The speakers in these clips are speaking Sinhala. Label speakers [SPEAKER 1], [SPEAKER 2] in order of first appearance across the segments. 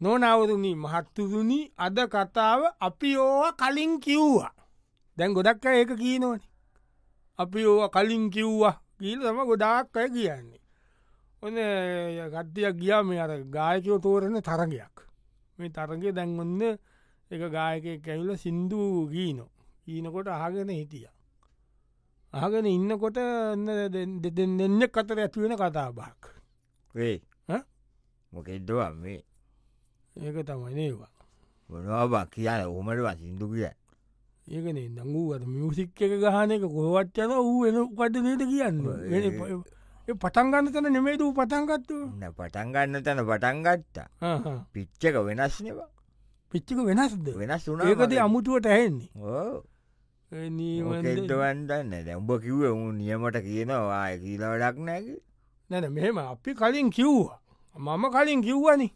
[SPEAKER 1] නොනවරුණි මහත්තුරුණි අද කතාව අපි ඕ කලින් කිව්වා දැන් ගොඩක් අය ඒක කියීනවන අපි ඕ කලින් කිව්වා කියීල තම ගොඩාක් අය කියන්නේ ඔන ගත්තියක් ගියා මේ අර ගායකෝ තෝරණ තරගයක් මේ තරගය දැන්වන්න එක ගායක කැවිල සින්දු ගීනෝ ඊනකොට අහගෙන හිටිය අහගෙන ඉන්නකොට දෙන්න කතර ඇතිවෙන කතා බාක්
[SPEAKER 2] වේ
[SPEAKER 1] ඈ?
[SPEAKER 2] මොකෙද්දවා මේ
[SPEAKER 1] ඒක තමයි නේවා
[SPEAKER 2] මොනවා කියල හොමටවා සිින්දු කිය
[SPEAKER 1] ඒකන දඟුවට මියසික් එක ගහන එක කොහවත් යන වූ එන උපදනයට කියන්න
[SPEAKER 2] ඒ-
[SPEAKER 1] වෙන ප- ඒ පටන්ගන්න තන නෙමේද වූ පටන්ගත්තු
[SPEAKER 2] පටන්ගන්න තැන පටන්ගත්තා පිච්චක වෙනස්නවා
[SPEAKER 1] පිච්චික වෙනස්ද
[SPEAKER 2] වෙනස්
[SPEAKER 1] ඒකද අමුතුවට ඇහෙන්නේ
[SPEAKER 2] ඕකෙද්දවන්දන්න දැම්ඹ කිව්ව උන් නියමට කියනවා කියල වැඩක් නැක
[SPEAKER 1] නැන මෙහෙම අපි කලින් කිව්වා මම කලින් කිව්වනි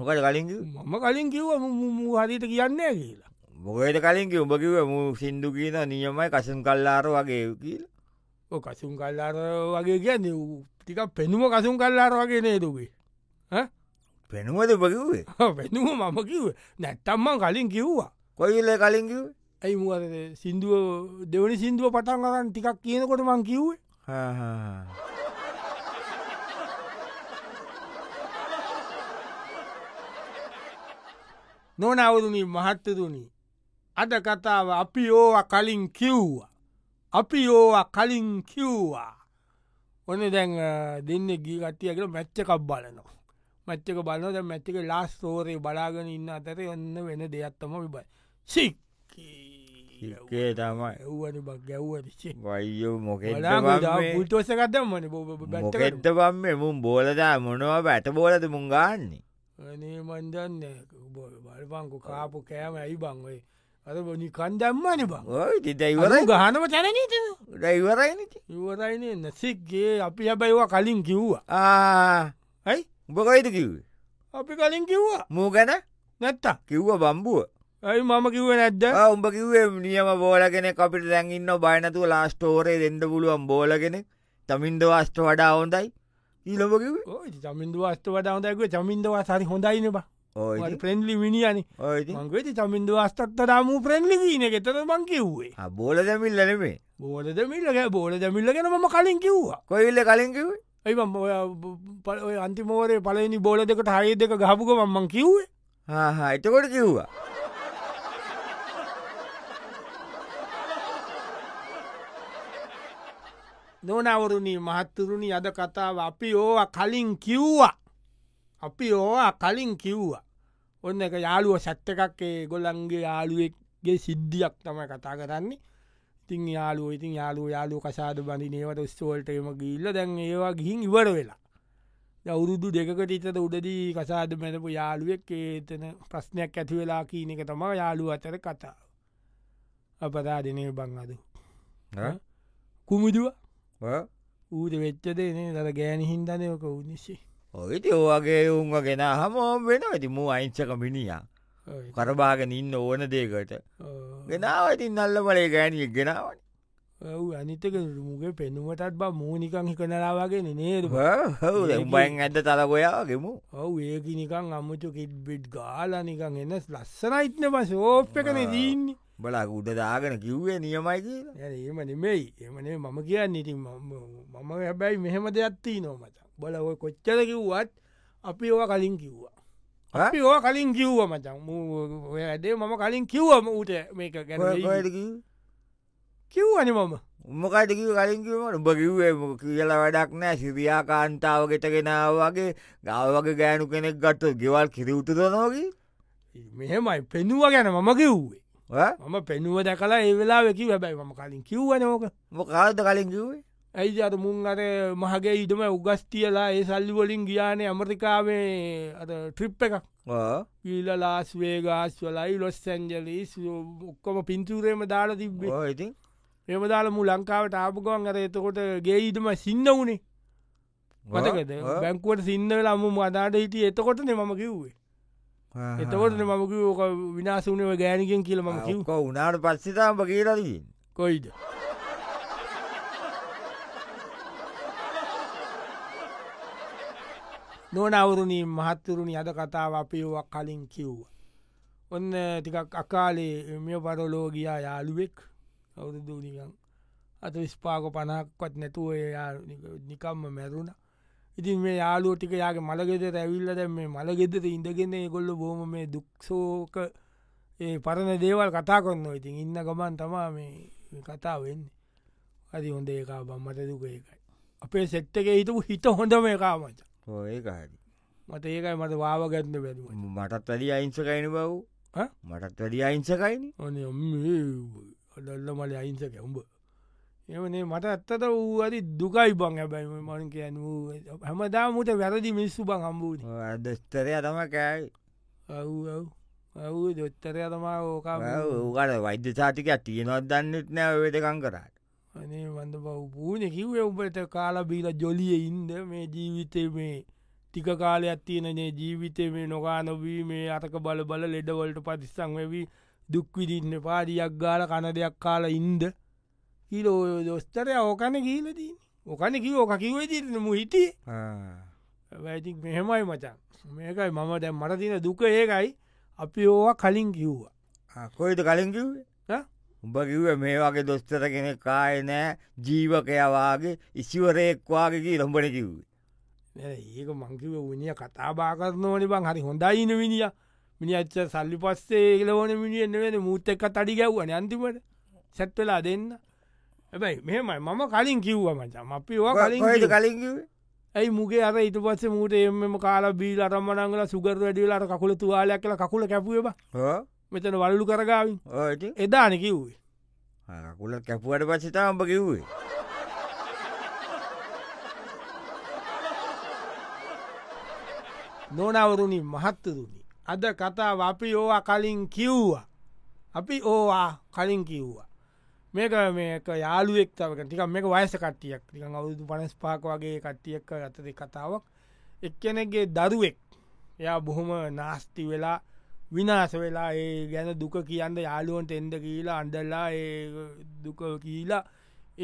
[SPEAKER 2] මොකට කලින්
[SPEAKER 1] මම කලින් කිව්ව හරිට කියන්නේ කියලා
[SPEAKER 2] බොකට කලින් උඹ කිව මු සින්දු කියන නියමයි කසන් කල්ලාර වගේ කියල
[SPEAKER 1] ඔය කසුම් කල්ලාර වගේ කියන්නේ ඌ ටිකක් පෙනුම කසුම් කල්ලාර වගේ නේදුගේ
[SPEAKER 2] පෙනුවද උපකිවේ
[SPEAKER 1] පෙනුම මම කිව්ව නැත්තම්මන් කලින් කිව්වා
[SPEAKER 2] කොයිල කලින් කිව්
[SPEAKER 1] ඇයි මුවද සිින්දුව දෙවනි සිින්දුව පටන් කරන්න ටිකක් කියනකොට මං කිව්වේ නොනවරුණී මහත්තතුනි අද කතාව අපි ඕව කලින් කිව්වා අපි ඕව කලින් කිව්වා ඔන්න දැන් අ, දෙන්න ගීගත්තියකට මැච්චකක් බලනවා මච්චක බලනොද මැච්චක ලාස් තෝරේ බලාගෙන ඉන්න අතර ඔන්න වෙන දෙයක්ත්තම විබයි සික්කේ
[SPEAKER 2] ඒකේ තමයි
[SPEAKER 1] ඇව්වනි බක් ගැව්වට සික්
[SPEAKER 2] වයිෝ මොකෙට
[SPEAKER 1] පුටෝසකත්දමන
[SPEAKER 2] මොකෙත්ත පම්ම මුම් බෝලදා මොනවා බැට බෝලද මුන් ගන්නේ
[SPEAKER 1] නේ මන්දන්න බලපංකු කාපු කෑම ඇයි බංවයි අද බොනි කන්දම්මන බං
[SPEAKER 2] ඔයි තිත ඉවර
[SPEAKER 1] අර ගහනම තැනනීත
[SPEAKER 2] ඉවරයින
[SPEAKER 1] ඉවරයිනේ නැසික්ගේ අපි හැබැයිවා කලින් කිව්වා ඇයි
[SPEAKER 2] උඹකොයිද කිව්
[SPEAKER 1] අපි කලින් කිව්වා
[SPEAKER 2] මූ ගැන
[SPEAKER 1] නැත්තා
[SPEAKER 2] කිව්ව බම්බුව
[SPEAKER 1] ඇයි මම කිව්ව නැද්ද
[SPEAKER 2] ආ, උඹ කිව්වේ නියම බෝලගෙන අපිට දැන්ඉන්න බයනතුව ලාස්ටෝරේ දෙන්න පුළුවන් බෝලගෙන තමින්ද වස්ට වඩා හොඳයි ඊලොඹ කිව්
[SPEAKER 1] ඕයි චමින්ද වස්ත වඩාවදැකුව චමින්දවා සරි හොඳයින බා
[SPEAKER 2] ඕයි
[SPEAKER 1] ප්‍රෙන්ඩලි විනිියනි
[SPEAKER 2] ඕයි
[SPEAKER 1] මංගවෙති චමින්ද වස්තත්තරාමූ ප්‍රෙන්ලි ීන ගෙතර බං කිව්වේ
[SPEAKER 2] බෝල දැමිල් ලනෙමේ
[SPEAKER 1] බෝල දෙමිල්ලගේ බෝල දෙමිල්ල ගෙන මම කලින් කිව්වා
[SPEAKER 2] කොයිල්ල කලින් කිව්
[SPEAKER 1] ඇයි මම ඔය ප- ඔය අන්තිමෝරේ පලනි බෝල දෙකට හය දෙක ගහපුක මම්මන් කිව්වේ
[SPEAKER 2] හා එතකොට කිව්වා
[SPEAKER 1] නොනවරුණී මහත්තුරුණි අද කතාව අපි ඕවා කලින් කිව්වා අපි ඕවා කලින් කිව්වා ඔන්න එක යාළුව සැත්ත එකක් ඒ ගොල්ලන්ගේ යාළුවෙක්ගේ සිද්ධියක් තමයි කතා කරන්නේ ඉතින් යාලුව ඉතින් යාලු යාලු කසාද බඳි නේවට ස්තෝල්ටම ගිල්ල දැන් ඒවා ගිහින් ඉවර වෙලා අවුරුදු දෙකට ඉතට උඩදී කසාද මැනපු යාළුවෙක් ඒතන ප්‍රශ්නයක් ඇති වෙලා කීන එක තම යාලු අතර කතාව අපදා දෙනේ බංහද කුමුදුව ඌද වෙච්චදේ දර ගෑන හින්දනයක උනිසි
[SPEAKER 2] ඔයිති ඕගේ උන්ව ගෙන හමෝ වෙන ඇති මූ අයිංචක මිනිියා කරබාගෙන ඉන්න ඕන දේකට ගෙනාවතින් නල්ල පලේ ගෑනියක් ගෙනාවට
[SPEAKER 1] ඔව් අනිතක මුගේ පෙනුවටත් බ මූනිකං හිකනලාවාගෙන නේද
[SPEAKER 2] හව උඹයින් ඇද තලකොයාගෙමු
[SPEAKER 1] ඔව් ඒක නිකං අමුතු කිට්බිට් ගාලනිකං එන්න ලස්සන ඉත්න පස ඕප් එකන දීන්නේ
[SPEAKER 2] බලා උඩ දාගෙන කිව්වේ නියමයි කියලා
[SPEAKER 1] යන ඒම නෙමෙයි එමනේ මම කියන්න ඉති මම හැබැයි මෙහෙම දෙයක්ත්තිී නොමත බල ඔය කොච්චර කිව්වත් අපි ඕ කලින් කිව්වා
[SPEAKER 2] ඈ?
[SPEAKER 1] අපි ඕ කලින් කිව්ව මචන් මූ ඇදේ මම කලින් කිව්වම ඌට මේක ගැන කිව්වනි මම
[SPEAKER 2] උමකට කිව කලින් කිවට උඹ කිව්වේ මො කියලා වැඩක් නෑ සිරියා කාන්තාව ගෙටගෙනාවගේ ගාවගේ ගෑනු කෙනෙක් ගත්ත ගෙවල් කිරවුතුද නොකි
[SPEAKER 1] මෙහෙමයි පෙනුව ගැන මම කිව්වේ මම පෙනුව දැකලා ඒ වෙලා වෙකි වැබැයි මම කලින් කිව්වනෝක
[SPEAKER 2] මො කාලත කලින් කිව්වේ
[SPEAKER 1] ඇයි අත මුන් අර මහගේ ඉඩම උගස්තියලා ඒ සල්ලිවලින් ගියානේ ඇමරිකාවේ අ ට්‍රිප් එකක්
[SPEAKER 2] ඕ.
[SPEAKER 1] ඊලලාස් වේගස් වලයි ලොස් සැන්ජලිස් ඔක්කොම පින්තුරේම දාලා තිබ්බේ
[SPEAKER 2] ඕ ඉතින්
[SPEAKER 1] එම දාලා මු ලංකාවට ආපුගුවන් අර එතකොට ගේ ඉඩම සින්න වුණේ මතකද
[SPEAKER 2] ඕ.
[SPEAKER 1] බැංකුවට සින්න වෙලා අම්ම අදාට හිටිය එතකොටන මම කිව්වේ
[SPEAKER 2] ආහා.
[SPEAKER 1] එතකොටන මම කිව්ෝක විනාසුනව ගෑනිකෙන් කියල මම කිව්
[SPEAKER 2] ඔක්කො උනාට පස්සිතාම කියලදී
[SPEAKER 1] කොයිද නොනවරුණී මහත්තුරුණි අද කතාව අපිෝවක් කලින් කිව්ව. ඔන්න ටිකක් අකාලේ මෙ පරලෝගයා යාළුවෙක් අවුරුදුනිකන් අත විස්පාක පණක්වත් නැතුව එයා නිකම්ම මැරුණ ඉතින් මේ යාලෝ ටික යාගේ මළගෙද රැවිල්ල දැ මේ මළගෙදර ඉඳගෙන ගොල්ල බෝම මේ දුක්ෂෝක ඒ පරණ දේවල් කතා කොන්න ඉතින් ඉන්න ගමන් තමා මේ කතා වෙන්නේ අති හොඳ ඒකා බම්මට දුක ඒකයි අපේ සෙට්ටක හිතු හිත හොඳ මේ කාමච
[SPEAKER 2] ඒකාරි
[SPEAKER 1] මත ඒකයි මට වාව ගැත්න බැරුව
[SPEAKER 2] මටත් වැඩිය අයිංසකයින බව්
[SPEAKER 1] ඈ?
[SPEAKER 2] මටත් වැඩිය අයිංසකයින
[SPEAKER 1] ඕනේ අඩල්ල මල අයින්සක උඹ එමනේ මට ඇත්තට වූ අරි දුකයි බං හැබැයි ඔය මං කියන හැමදා මුට වැරදි මිස්සු බං හම්බූද
[SPEAKER 2] දස්තරය තම කෑයි
[SPEAKER 1] ඇව් දොත්තරය තමා ඕකා
[SPEAKER 2] ඕකට වෛද්‍ය සාතිකයක් තියෙනවත් දන්නෙත් නෑ වෙදකං කරට
[SPEAKER 1] අනේ වඳ බව පූන කිව්වේ උඹට කාලබීල ජොලිය ඉන්ද මේ ජීවිතය මේ ටික කාලයක් තියෙනනේ ජීවිතය මේ නොකා නොවී මේ අතක බල බල ලෙඩවලට පතිස්සංවවී දුක්විදින්න පාඩියක් ගාල කන දෙයක් කාල ඉන්ද කිලෝ දොස්තරය ඕකන කියීලදී ඕකන කිව ඕක කිවේදින මුහිටිය වැති මෙහෙමයි මචන් මේකයි මම දැ මරතින දුක ඒකයි අපි ඕවා කලින් කිව්වා
[SPEAKER 2] කොයිද කලින් කිව්වේ
[SPEAKER 1] ඈ?
[SPEAKER 2] උඹ කිව්ව මේ වගේ දොස්තර කෙන කාය නෑ ජීවකයවාගේ ඉසිවරයෙක්වාගේ කිය ලොඹන කිව්වේ
[SPEAKER 1] නෑ, ඒක මංකිව විනිිය කතාබා කරන ඕන බං හරි හොඳයින විනිිය මිනි අච්ච සල්ලි පස්සේ ඒලවන මිනිියෙන් වෙන මුූත එක්ක තඩි ගැව්වන අන්තිමට සැත්වෙලා දෙන්න ඇබැයි මෙමයි මම කලින් කිව්ව මචම අපි ඕවා කලින්
[SPEAKER 2] කොයිද
[SPEAKER 1] කිව්වා.
[SPEAKER 2] කලින් කිව්වේ
[SPEAKER 1] ඇයි මුගේ අර ඉට පස්ස මූට එම කාලා බීල අරම්මනංගල සුගර වැඩිලාට කකුල තුවාලයක් කියලා කකුල කැපුව බ
[SPEAKER 2] ඕ
[SPEAKER 1] මෙතන වල්ලු කරගාවින්
[SPEAKER 2] ඕයිති
[SPEAKER 1] එදාන කිව්වේ
[SPEAKER 2] කුල කැපුවට පසිතා අම්ඹ කිව්වේ
[SPEAKER 1] නොනවරුණි මහත්තරුණි අද කතාව අපි ඕවා කලින් කිව්වා අපි ඕවා කලින් කිව්වා මේක මේක යාළුවෙක්තාවක ටික මේක වයස කට්ටියක් ටික අවුදු පනස් පාක වගේ කට්ටියක් ඇතති කතාවක් එක්කෙනෙගේ දරුවෙක් එයා බොහොම නාස්ති වෙලා විනාස වෙලා ඒ ගැන දුක කියන්න යාළුවන්ට එන්ද කියලා අන්ඩල්ලා ඒ දුක කියලා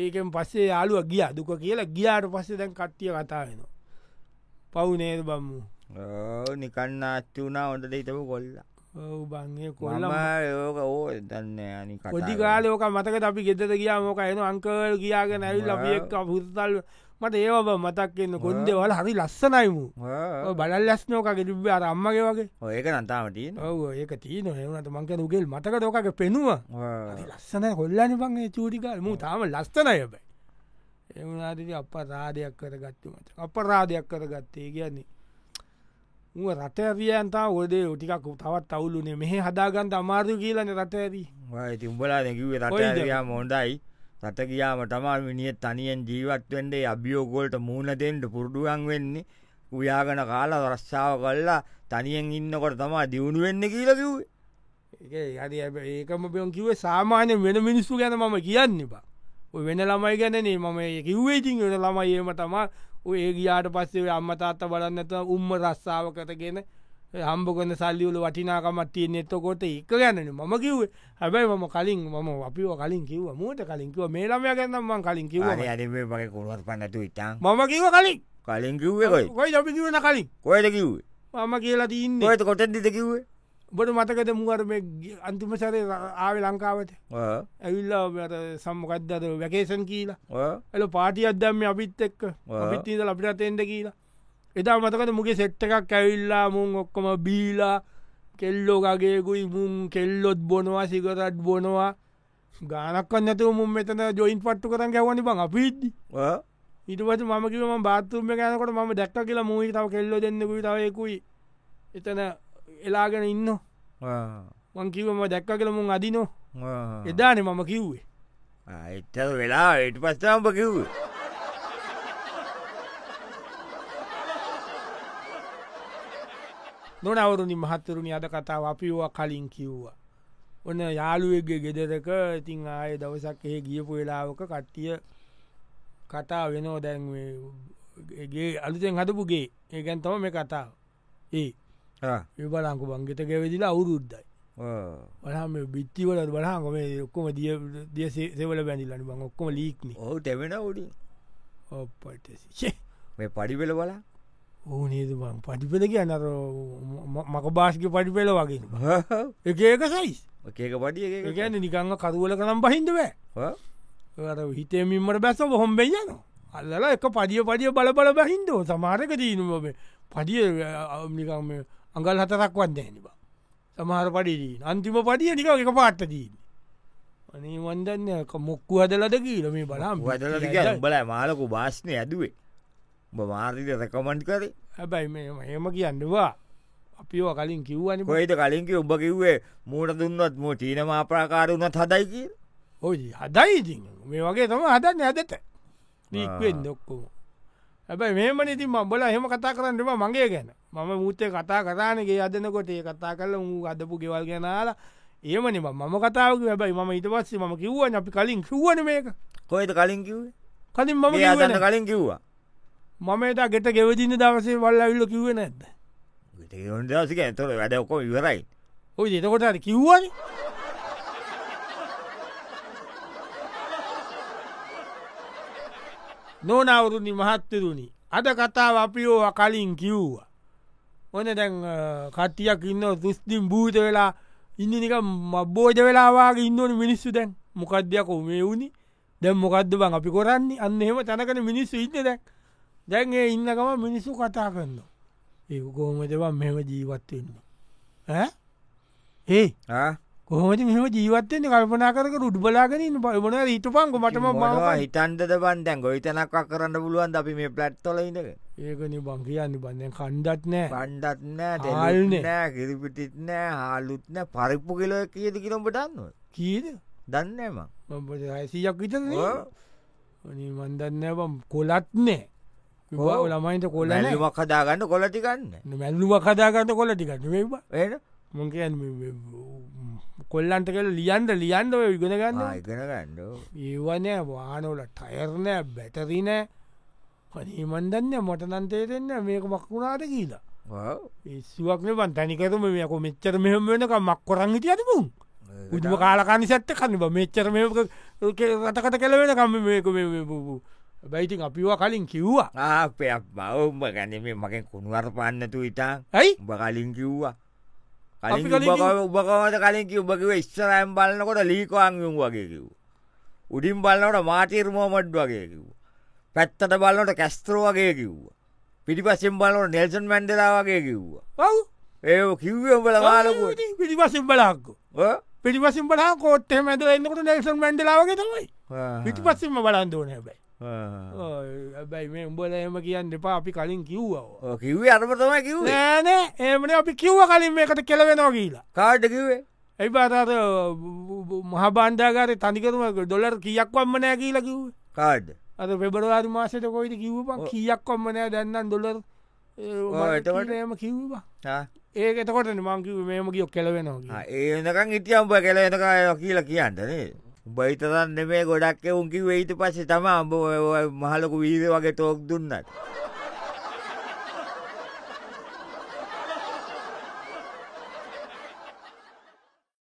[SPEAKER 1] ඒකෙන් පස්සේ යාළුව ගිය දුක කියලා ගියාට පස්සේ දැන් කට්ටිය කතා වෙනවා පවුනේද බම්මු
[SPEAKER 2] ඕ නිකන්න අච්චි වුණා හොඳට හිතපු කොල්ල
[SPEAKER 1] ඔව් බංගේ කොල්ල
[SPEAKER 2] කොල්ලම යෝක ඕ දන්න අනි
[SPEAKER 1] පොඩි කාලයෝක මතක අපි ගෙදර ගියා මෝක එන අංකල් කියාගෙන ඇවිල් අපික් පුරතල් මට ඒව මතක්කන්න කොන්ද වල හරි ලස්සනයිමු ඔය බලල් ලස්නෝක ගෙලිබ්බ අර අම්මගේ වගේ
[SPEAKER 2] ඒක නතාමටීන
[SPEAKER 1] ඔව ඒක තියන එවනට මංක නුගෙල් මතක ෝකක පෙනුව ලස්සන කොල්ලන පගේ චූටිකාල් මු තාම ලස්සනයබයි එවනාට අප රාධයක් කර ගත්තමට අප රාධයක් කර ගත්තේ කියන්නේ ඌ රට ඇරියන්තා ඔදේ ටිකක් තවත් අවුලුනේ මෙහ හදාගන්ත අමාරු කියලන රට ඇරී
[SPEAKER 2] ඉති උඹලා දැකිවේ
[SPEAKER 1] කොයිද?
[SPEAKER 2] රටයා මොන්ඩයි රට කියාම තමා මිනිියත් තනියෙන් ජීවත්වෙන්ඩේ අභියෝගෝල්ට මූුණදෙන්ට පුරඩුවන් වෙන්නේ උයාගන කාලා රස්සාාව කල්ලා තනියෙන් ඉන්නකොට තමා දියුණු වෙන්න කියලකිවේ
[SPEAKER 1] ඒ හරි හැබැයි ඒකම පියොන් කිවේ සාමාන්‍ය වෙන මිනිස්සු ගැන මම කියන්න බා ඔය වෙන ළමයි ගැනනේ මම ඒ කිව්වේතින් වෙන ළමයි ඒම තමා ඔය ඒ ගියාට පස්සේ අම්මතාත්ත බලන්න ඇත උම්ම රස්සාාව කරගෙන හම්බගන සල්ලියවල වටිනාකමත් තිය නෙත්තකොට එක ගැනන මම කිව්වේ හැබැයි මම කලින් මම අපිව කලින් කිව්ව මුවට කලින් කිව මේ ළමය ගැන්නම්මන් කලින් කිව මම
[SPEAKER 2] අඩේ මගේ කොළුවත් පන්නතු ඉටා
[SPEAKER 1] කිව කලින්
[SPEAKER 2] කලින් කිව්වෙකොයි
[SPEAKER 1] කොයි අපි කිවන කලින්
[SPEAKER 2] කොයට කිව්ේ
[SPEAKER 1] මම කියලා තියන්නේ
[SPEAKER 2] නොයට කොටත් දිත කිව්වේ
[SPEAKER 1] බොට මතකද මුවරම අන්තිමසරය ආවේ ලංකාවට ඇවිල්ලා අර සම්මකක්දද වැකේසන් කියලා ඇල පාටි අදදම්ම අපිත් එක්ක
[SPEAKER 2] ආ.
[SPEAKER 1] අපිත් ඉඳල අපිට අතෙන්ට කියලා එදා මතකට මුගේ සෙට්ට එකක් ඇවිල්ලා මුන් ඔක්කොම බීලා කෙල්ලෝගගේකුයි මුන් කෙල්ලොත් බොනවා සිකරට් බොනවා ගානක් නැතු මුන් මෙතන ජොයින් පට්ටු කරන් ගැවනි බං අපිද්දි ඉටපස මම කිවම බාත්තුම ගැනකට ම දැක්ක කියලා මූයි තව කෙල්ලෝ දෙන්නෙකුයි තවයකුයි එතන එලාගෙන ඉන්න මං කිවම දැක්ක කියල මුන් අදිනෝ එදානෙ මම කිව්වේ
[SPEAKER 2] එත වෙලා එට පස්සාම්ප කිව්වේ
[SPEAKER 1] නොනවරුණි මහත්තරුණි අද කතාව අපිවා කලින් කිව්වා. ඔන්න යාළුවගේ ගෙදරක ඉතින් ආය දවසක් ඒ ගියපු වෙලාවක කට්ටිය කතා වෙනෝ දැන්ගේ අලුතෙන් හදපුගේ ඒගැන් තම මේ කතාව ඒ විබලංකු බංගෙත ගැවෙදිලා අවුරුද්දයි වහම බිත්තිවල බලහකොම ඔක්කොම දිය දිය සේ- සෙවල බැඳිලන්න බං ඔක්කොම ලීක්න
[SPEAKER 2] ඔහු තැවෙන උඩින්
[SPEAKER 1] ඔපට
[SPEAKER 2] මේ පඩිවෙල වලා
[SPEAKER 1] ඕනේද බං පටිපෙල කියන්න අර මක බාස්ක පටිපෙල වගේ එක ඒක සයිස්
[SPEAKER 2] එකක පඩිය
[SPEAKER 1] ගැන නිකංග කරුවල කනම් පහින්දවෑ අර හිතේමින්මට බැස්ස හොම්බෙන් යන අල්ලලා එක පඩිය පඩිය බලබල බහින්දෝ සමාරක දීනුවම පඩිය නිකම අඟල් හතරක් වන්ද හැනිබ සමහර පඩිදී අන්තිම පඩිය නික එක පාට්ට දීන්න අනේ වන්දන්න මොක්කු හදලද කියීල මේ බලාම්
[SPEAKER 2] වදල බල මාලකු භාෂ්නය ඇදුවේ උඹ මාරිත රැකමන්් කරේ
[SPEAKER 1] හැබැයි මේ එහෙම කියන්නවා අපිෝ කලින් කිව්වනි
[SPEAKER 2] කොයිට කලින්කි ඔබ කිව්වේ මූට දුන්නත් මෝ චීන මාප්‍රාකාරුනත් හදයිකි
[SPEAKER 1] ඔයි හදයිඉති මේ වගේ තම හදන්න ඇදත දීක්වෙන් දොක්කෝ ඇැබයි මේම ඉති මබල හෙම කතා කරන්නම මගේ ගැන මම මුත්තේ කතා කරානගේ අදනකොට ඒ කතා කරල ූ අදපු ගෙවල් ගෙනලා ඒමනි මම කතාවක හැබයි ම ඉට පස්සේ ම කිව්වන් අපි කලින් කිව්වන මේක
[SPEAKER 2] කොයිට කලින් කිවේ
[SPEAKER 1] කලින් මම
[SPEAKER 2] යදන්න
[SPEAKER 1] කිව්වේ නෑ.
[SPEAKER 2] කලින් කිව්වා
[SPEAKER 1] මම එදා ගෙට ගෙවදින්න දවසේ වල්ල විල්ල කිවේ නැද්ද
[SPEAKER 2] දසික ඇතොට වැඩ ඔකෝ ඉවරයි
[SPEAKER 1] ඔයි එතකොට අර කිව්වන නොනවුරුණි මහත්තරුණි අද කතාව අපිෝ කලින් කිව්වා ඕන දැන් අ, කට්ටියක් ඉන්න තුස්තිින් භූත වෙලා ඉන්නනික මබ්බෝජ වෙලාවාගේ ඉන්නවන මිනිස්සු දැන් මොකක්දයක් මේ වුණි දැම් මොකක්ද බං අපි කොරන්නේ අන්න එහෙම තැනකන මිනිස්සු ඉන්න දැක් දැන් ඒ ඉන්නකම මිනිස්සු කතා කරන්න ඒ කොහොමදවන් මෙම ජීවත්වන්නේ ඈ? ඒ කොහොමද මෙම ජීවත්තෙන් කල්පනා කරක රුඩ්බලාගෙන බලබන ඊට පංගු මටම බවා
[SPEAKER 2] හිතන්ද බන්දැන් ගොයිතනක් කරන්න පුළුවන් අපි මේ පලට්තොල ඉඳක
[SPEAKER 1] ඒකන බං කියන්න බන්න කණ්ඩත් නෑ හාල්නේ.
[SPEAKER 2] පණ්ඩත්නෑ නෑ කිරිපිටිත් නෑ හාලුත්න පරිප්පු කෙලො කියද කිරම්පටන්ව
[SPEAKER 1] කීද
[SPEAKER 2] දන්නම
[SPEAKER 1] සියක් විතර
[SPEAKER 2] ඔව්.
[SPEAKER 1] මන්දන්න බම් කොලත් නෑ
[SPEAKER 2] ඔව්.
[SPEAKER 1] ඔ ළමයින්ට කොල
[SPEAKER 2] ලැලිමක් හදාගන්න කොලටිකන්න
[SPEAKER 1] මැල්ලුව කදාගන්න කොලටිකට වේවා
[SPEAKER 2] එන
[SPEAKER 1] මොක කොල්ලන්ට කල ලියන්ට ලියන්ඩ ඉගෙන ගන්න
[SPEAKER 2] ඉගෙන ගන්න
[SPEAKER 1] ඒවනෑ වානෝල ටයර්නෑ බැටරිනෑ පනීමන්දන්න මට නන්තේරෙන්න මේක මක්ුණාට කියලා
[SPEAKER 2] ඔව්.
[SPEAKER 1] ඒස්ුවක්න බන් තනිකරම මේක මෙච්චර මෙහම වෙනක මක් කොරන් හිටියතිපුම් උදම කාලකානි සැත්ත කන්නබ මෙච්චර මේක රටකට කැලවෙන කම මේක බැයිතින් අපිවා කලින් කිව්වා
[SPEAKER 2] ආපයක් බවඋඹ ගැනීම මකින් කුණුවර පන්නතු ඉතා
[SPEAKER 1] ඇයි
[SPEAKER 2] උඹ කලින් කිව්වා
[SPEAKER 1] අපි කලින් කිව්වා.
[SPEAKER 2] උබකවද කලින් කිව් උබකිව ස්තරයම් බලන්නකොට ලීකවාංගුම් වගේ කිව් උඩින් බලන්නට මාතීර්මෝමඩ් වගේ කිව් පැත්තට බලන්නට කැස්ත්‍රෝ වගේ කිව්වා පිටිපස්සෙන් බලන්නට නෙල්සන් මැන්ඩලා වගේ කිව්වා
[SPEAKER 1] ඔව්
[SPEAKER 2] ඒ කිව්ව උඹල මාලකුට
[SPEAKER 1] පිටිපසිම් බලාක්කු පිටිපසිම් බලා කෝට්ට මැද එන්නකට නෙල්සන් මැන්ඩලාවගේ තමයි පිටිපස්සෙම බලන්දෝන හැබයි ඇබයි මේ උඹල එම කියන්න එපා අපි කලින් කිව්වා
[SPEAKER 2] කිව්වේ අරමතමයි කිව්වේ
[SPEAKER 1] නෑනෑ ඒමන අපි කිව්ව කලින් මේකට කෙලවෙනවා කියලා
[SPEAKER 2] කාට කිවේ
[SPEAKER 1] ඇයි පාතාර මහ බන්ධාගාරය තනිකරුම ඩොලර් කියක්වම්ම නෑ කියලා කිව්
[SPEAKER 2] කාඩ්
[SPEAKER 1] අද පෙබරවාරි මාසයට කොයිට කිව්පන් කියක්වම්ම නෑ දැන්නන් ඩොලර්
[SPEAKER 2] එතකොට?
[SPEAKER 1] ඒම කිව්වා ඒ එතකොට මංකිව මේම කියෝ කෙලවෙනවා
[SPEAKER 2] ඒනකං ඉටිය උඹ කෙල එනකාය කියලා කියන්නනේ උබයිතරන්න මේ ගොඩක් එවුන්කි වෙයිට පස්සේ තම අඹ ඔය- ඔය මහලොකු වීද වගේ තෝක් දුන්නත්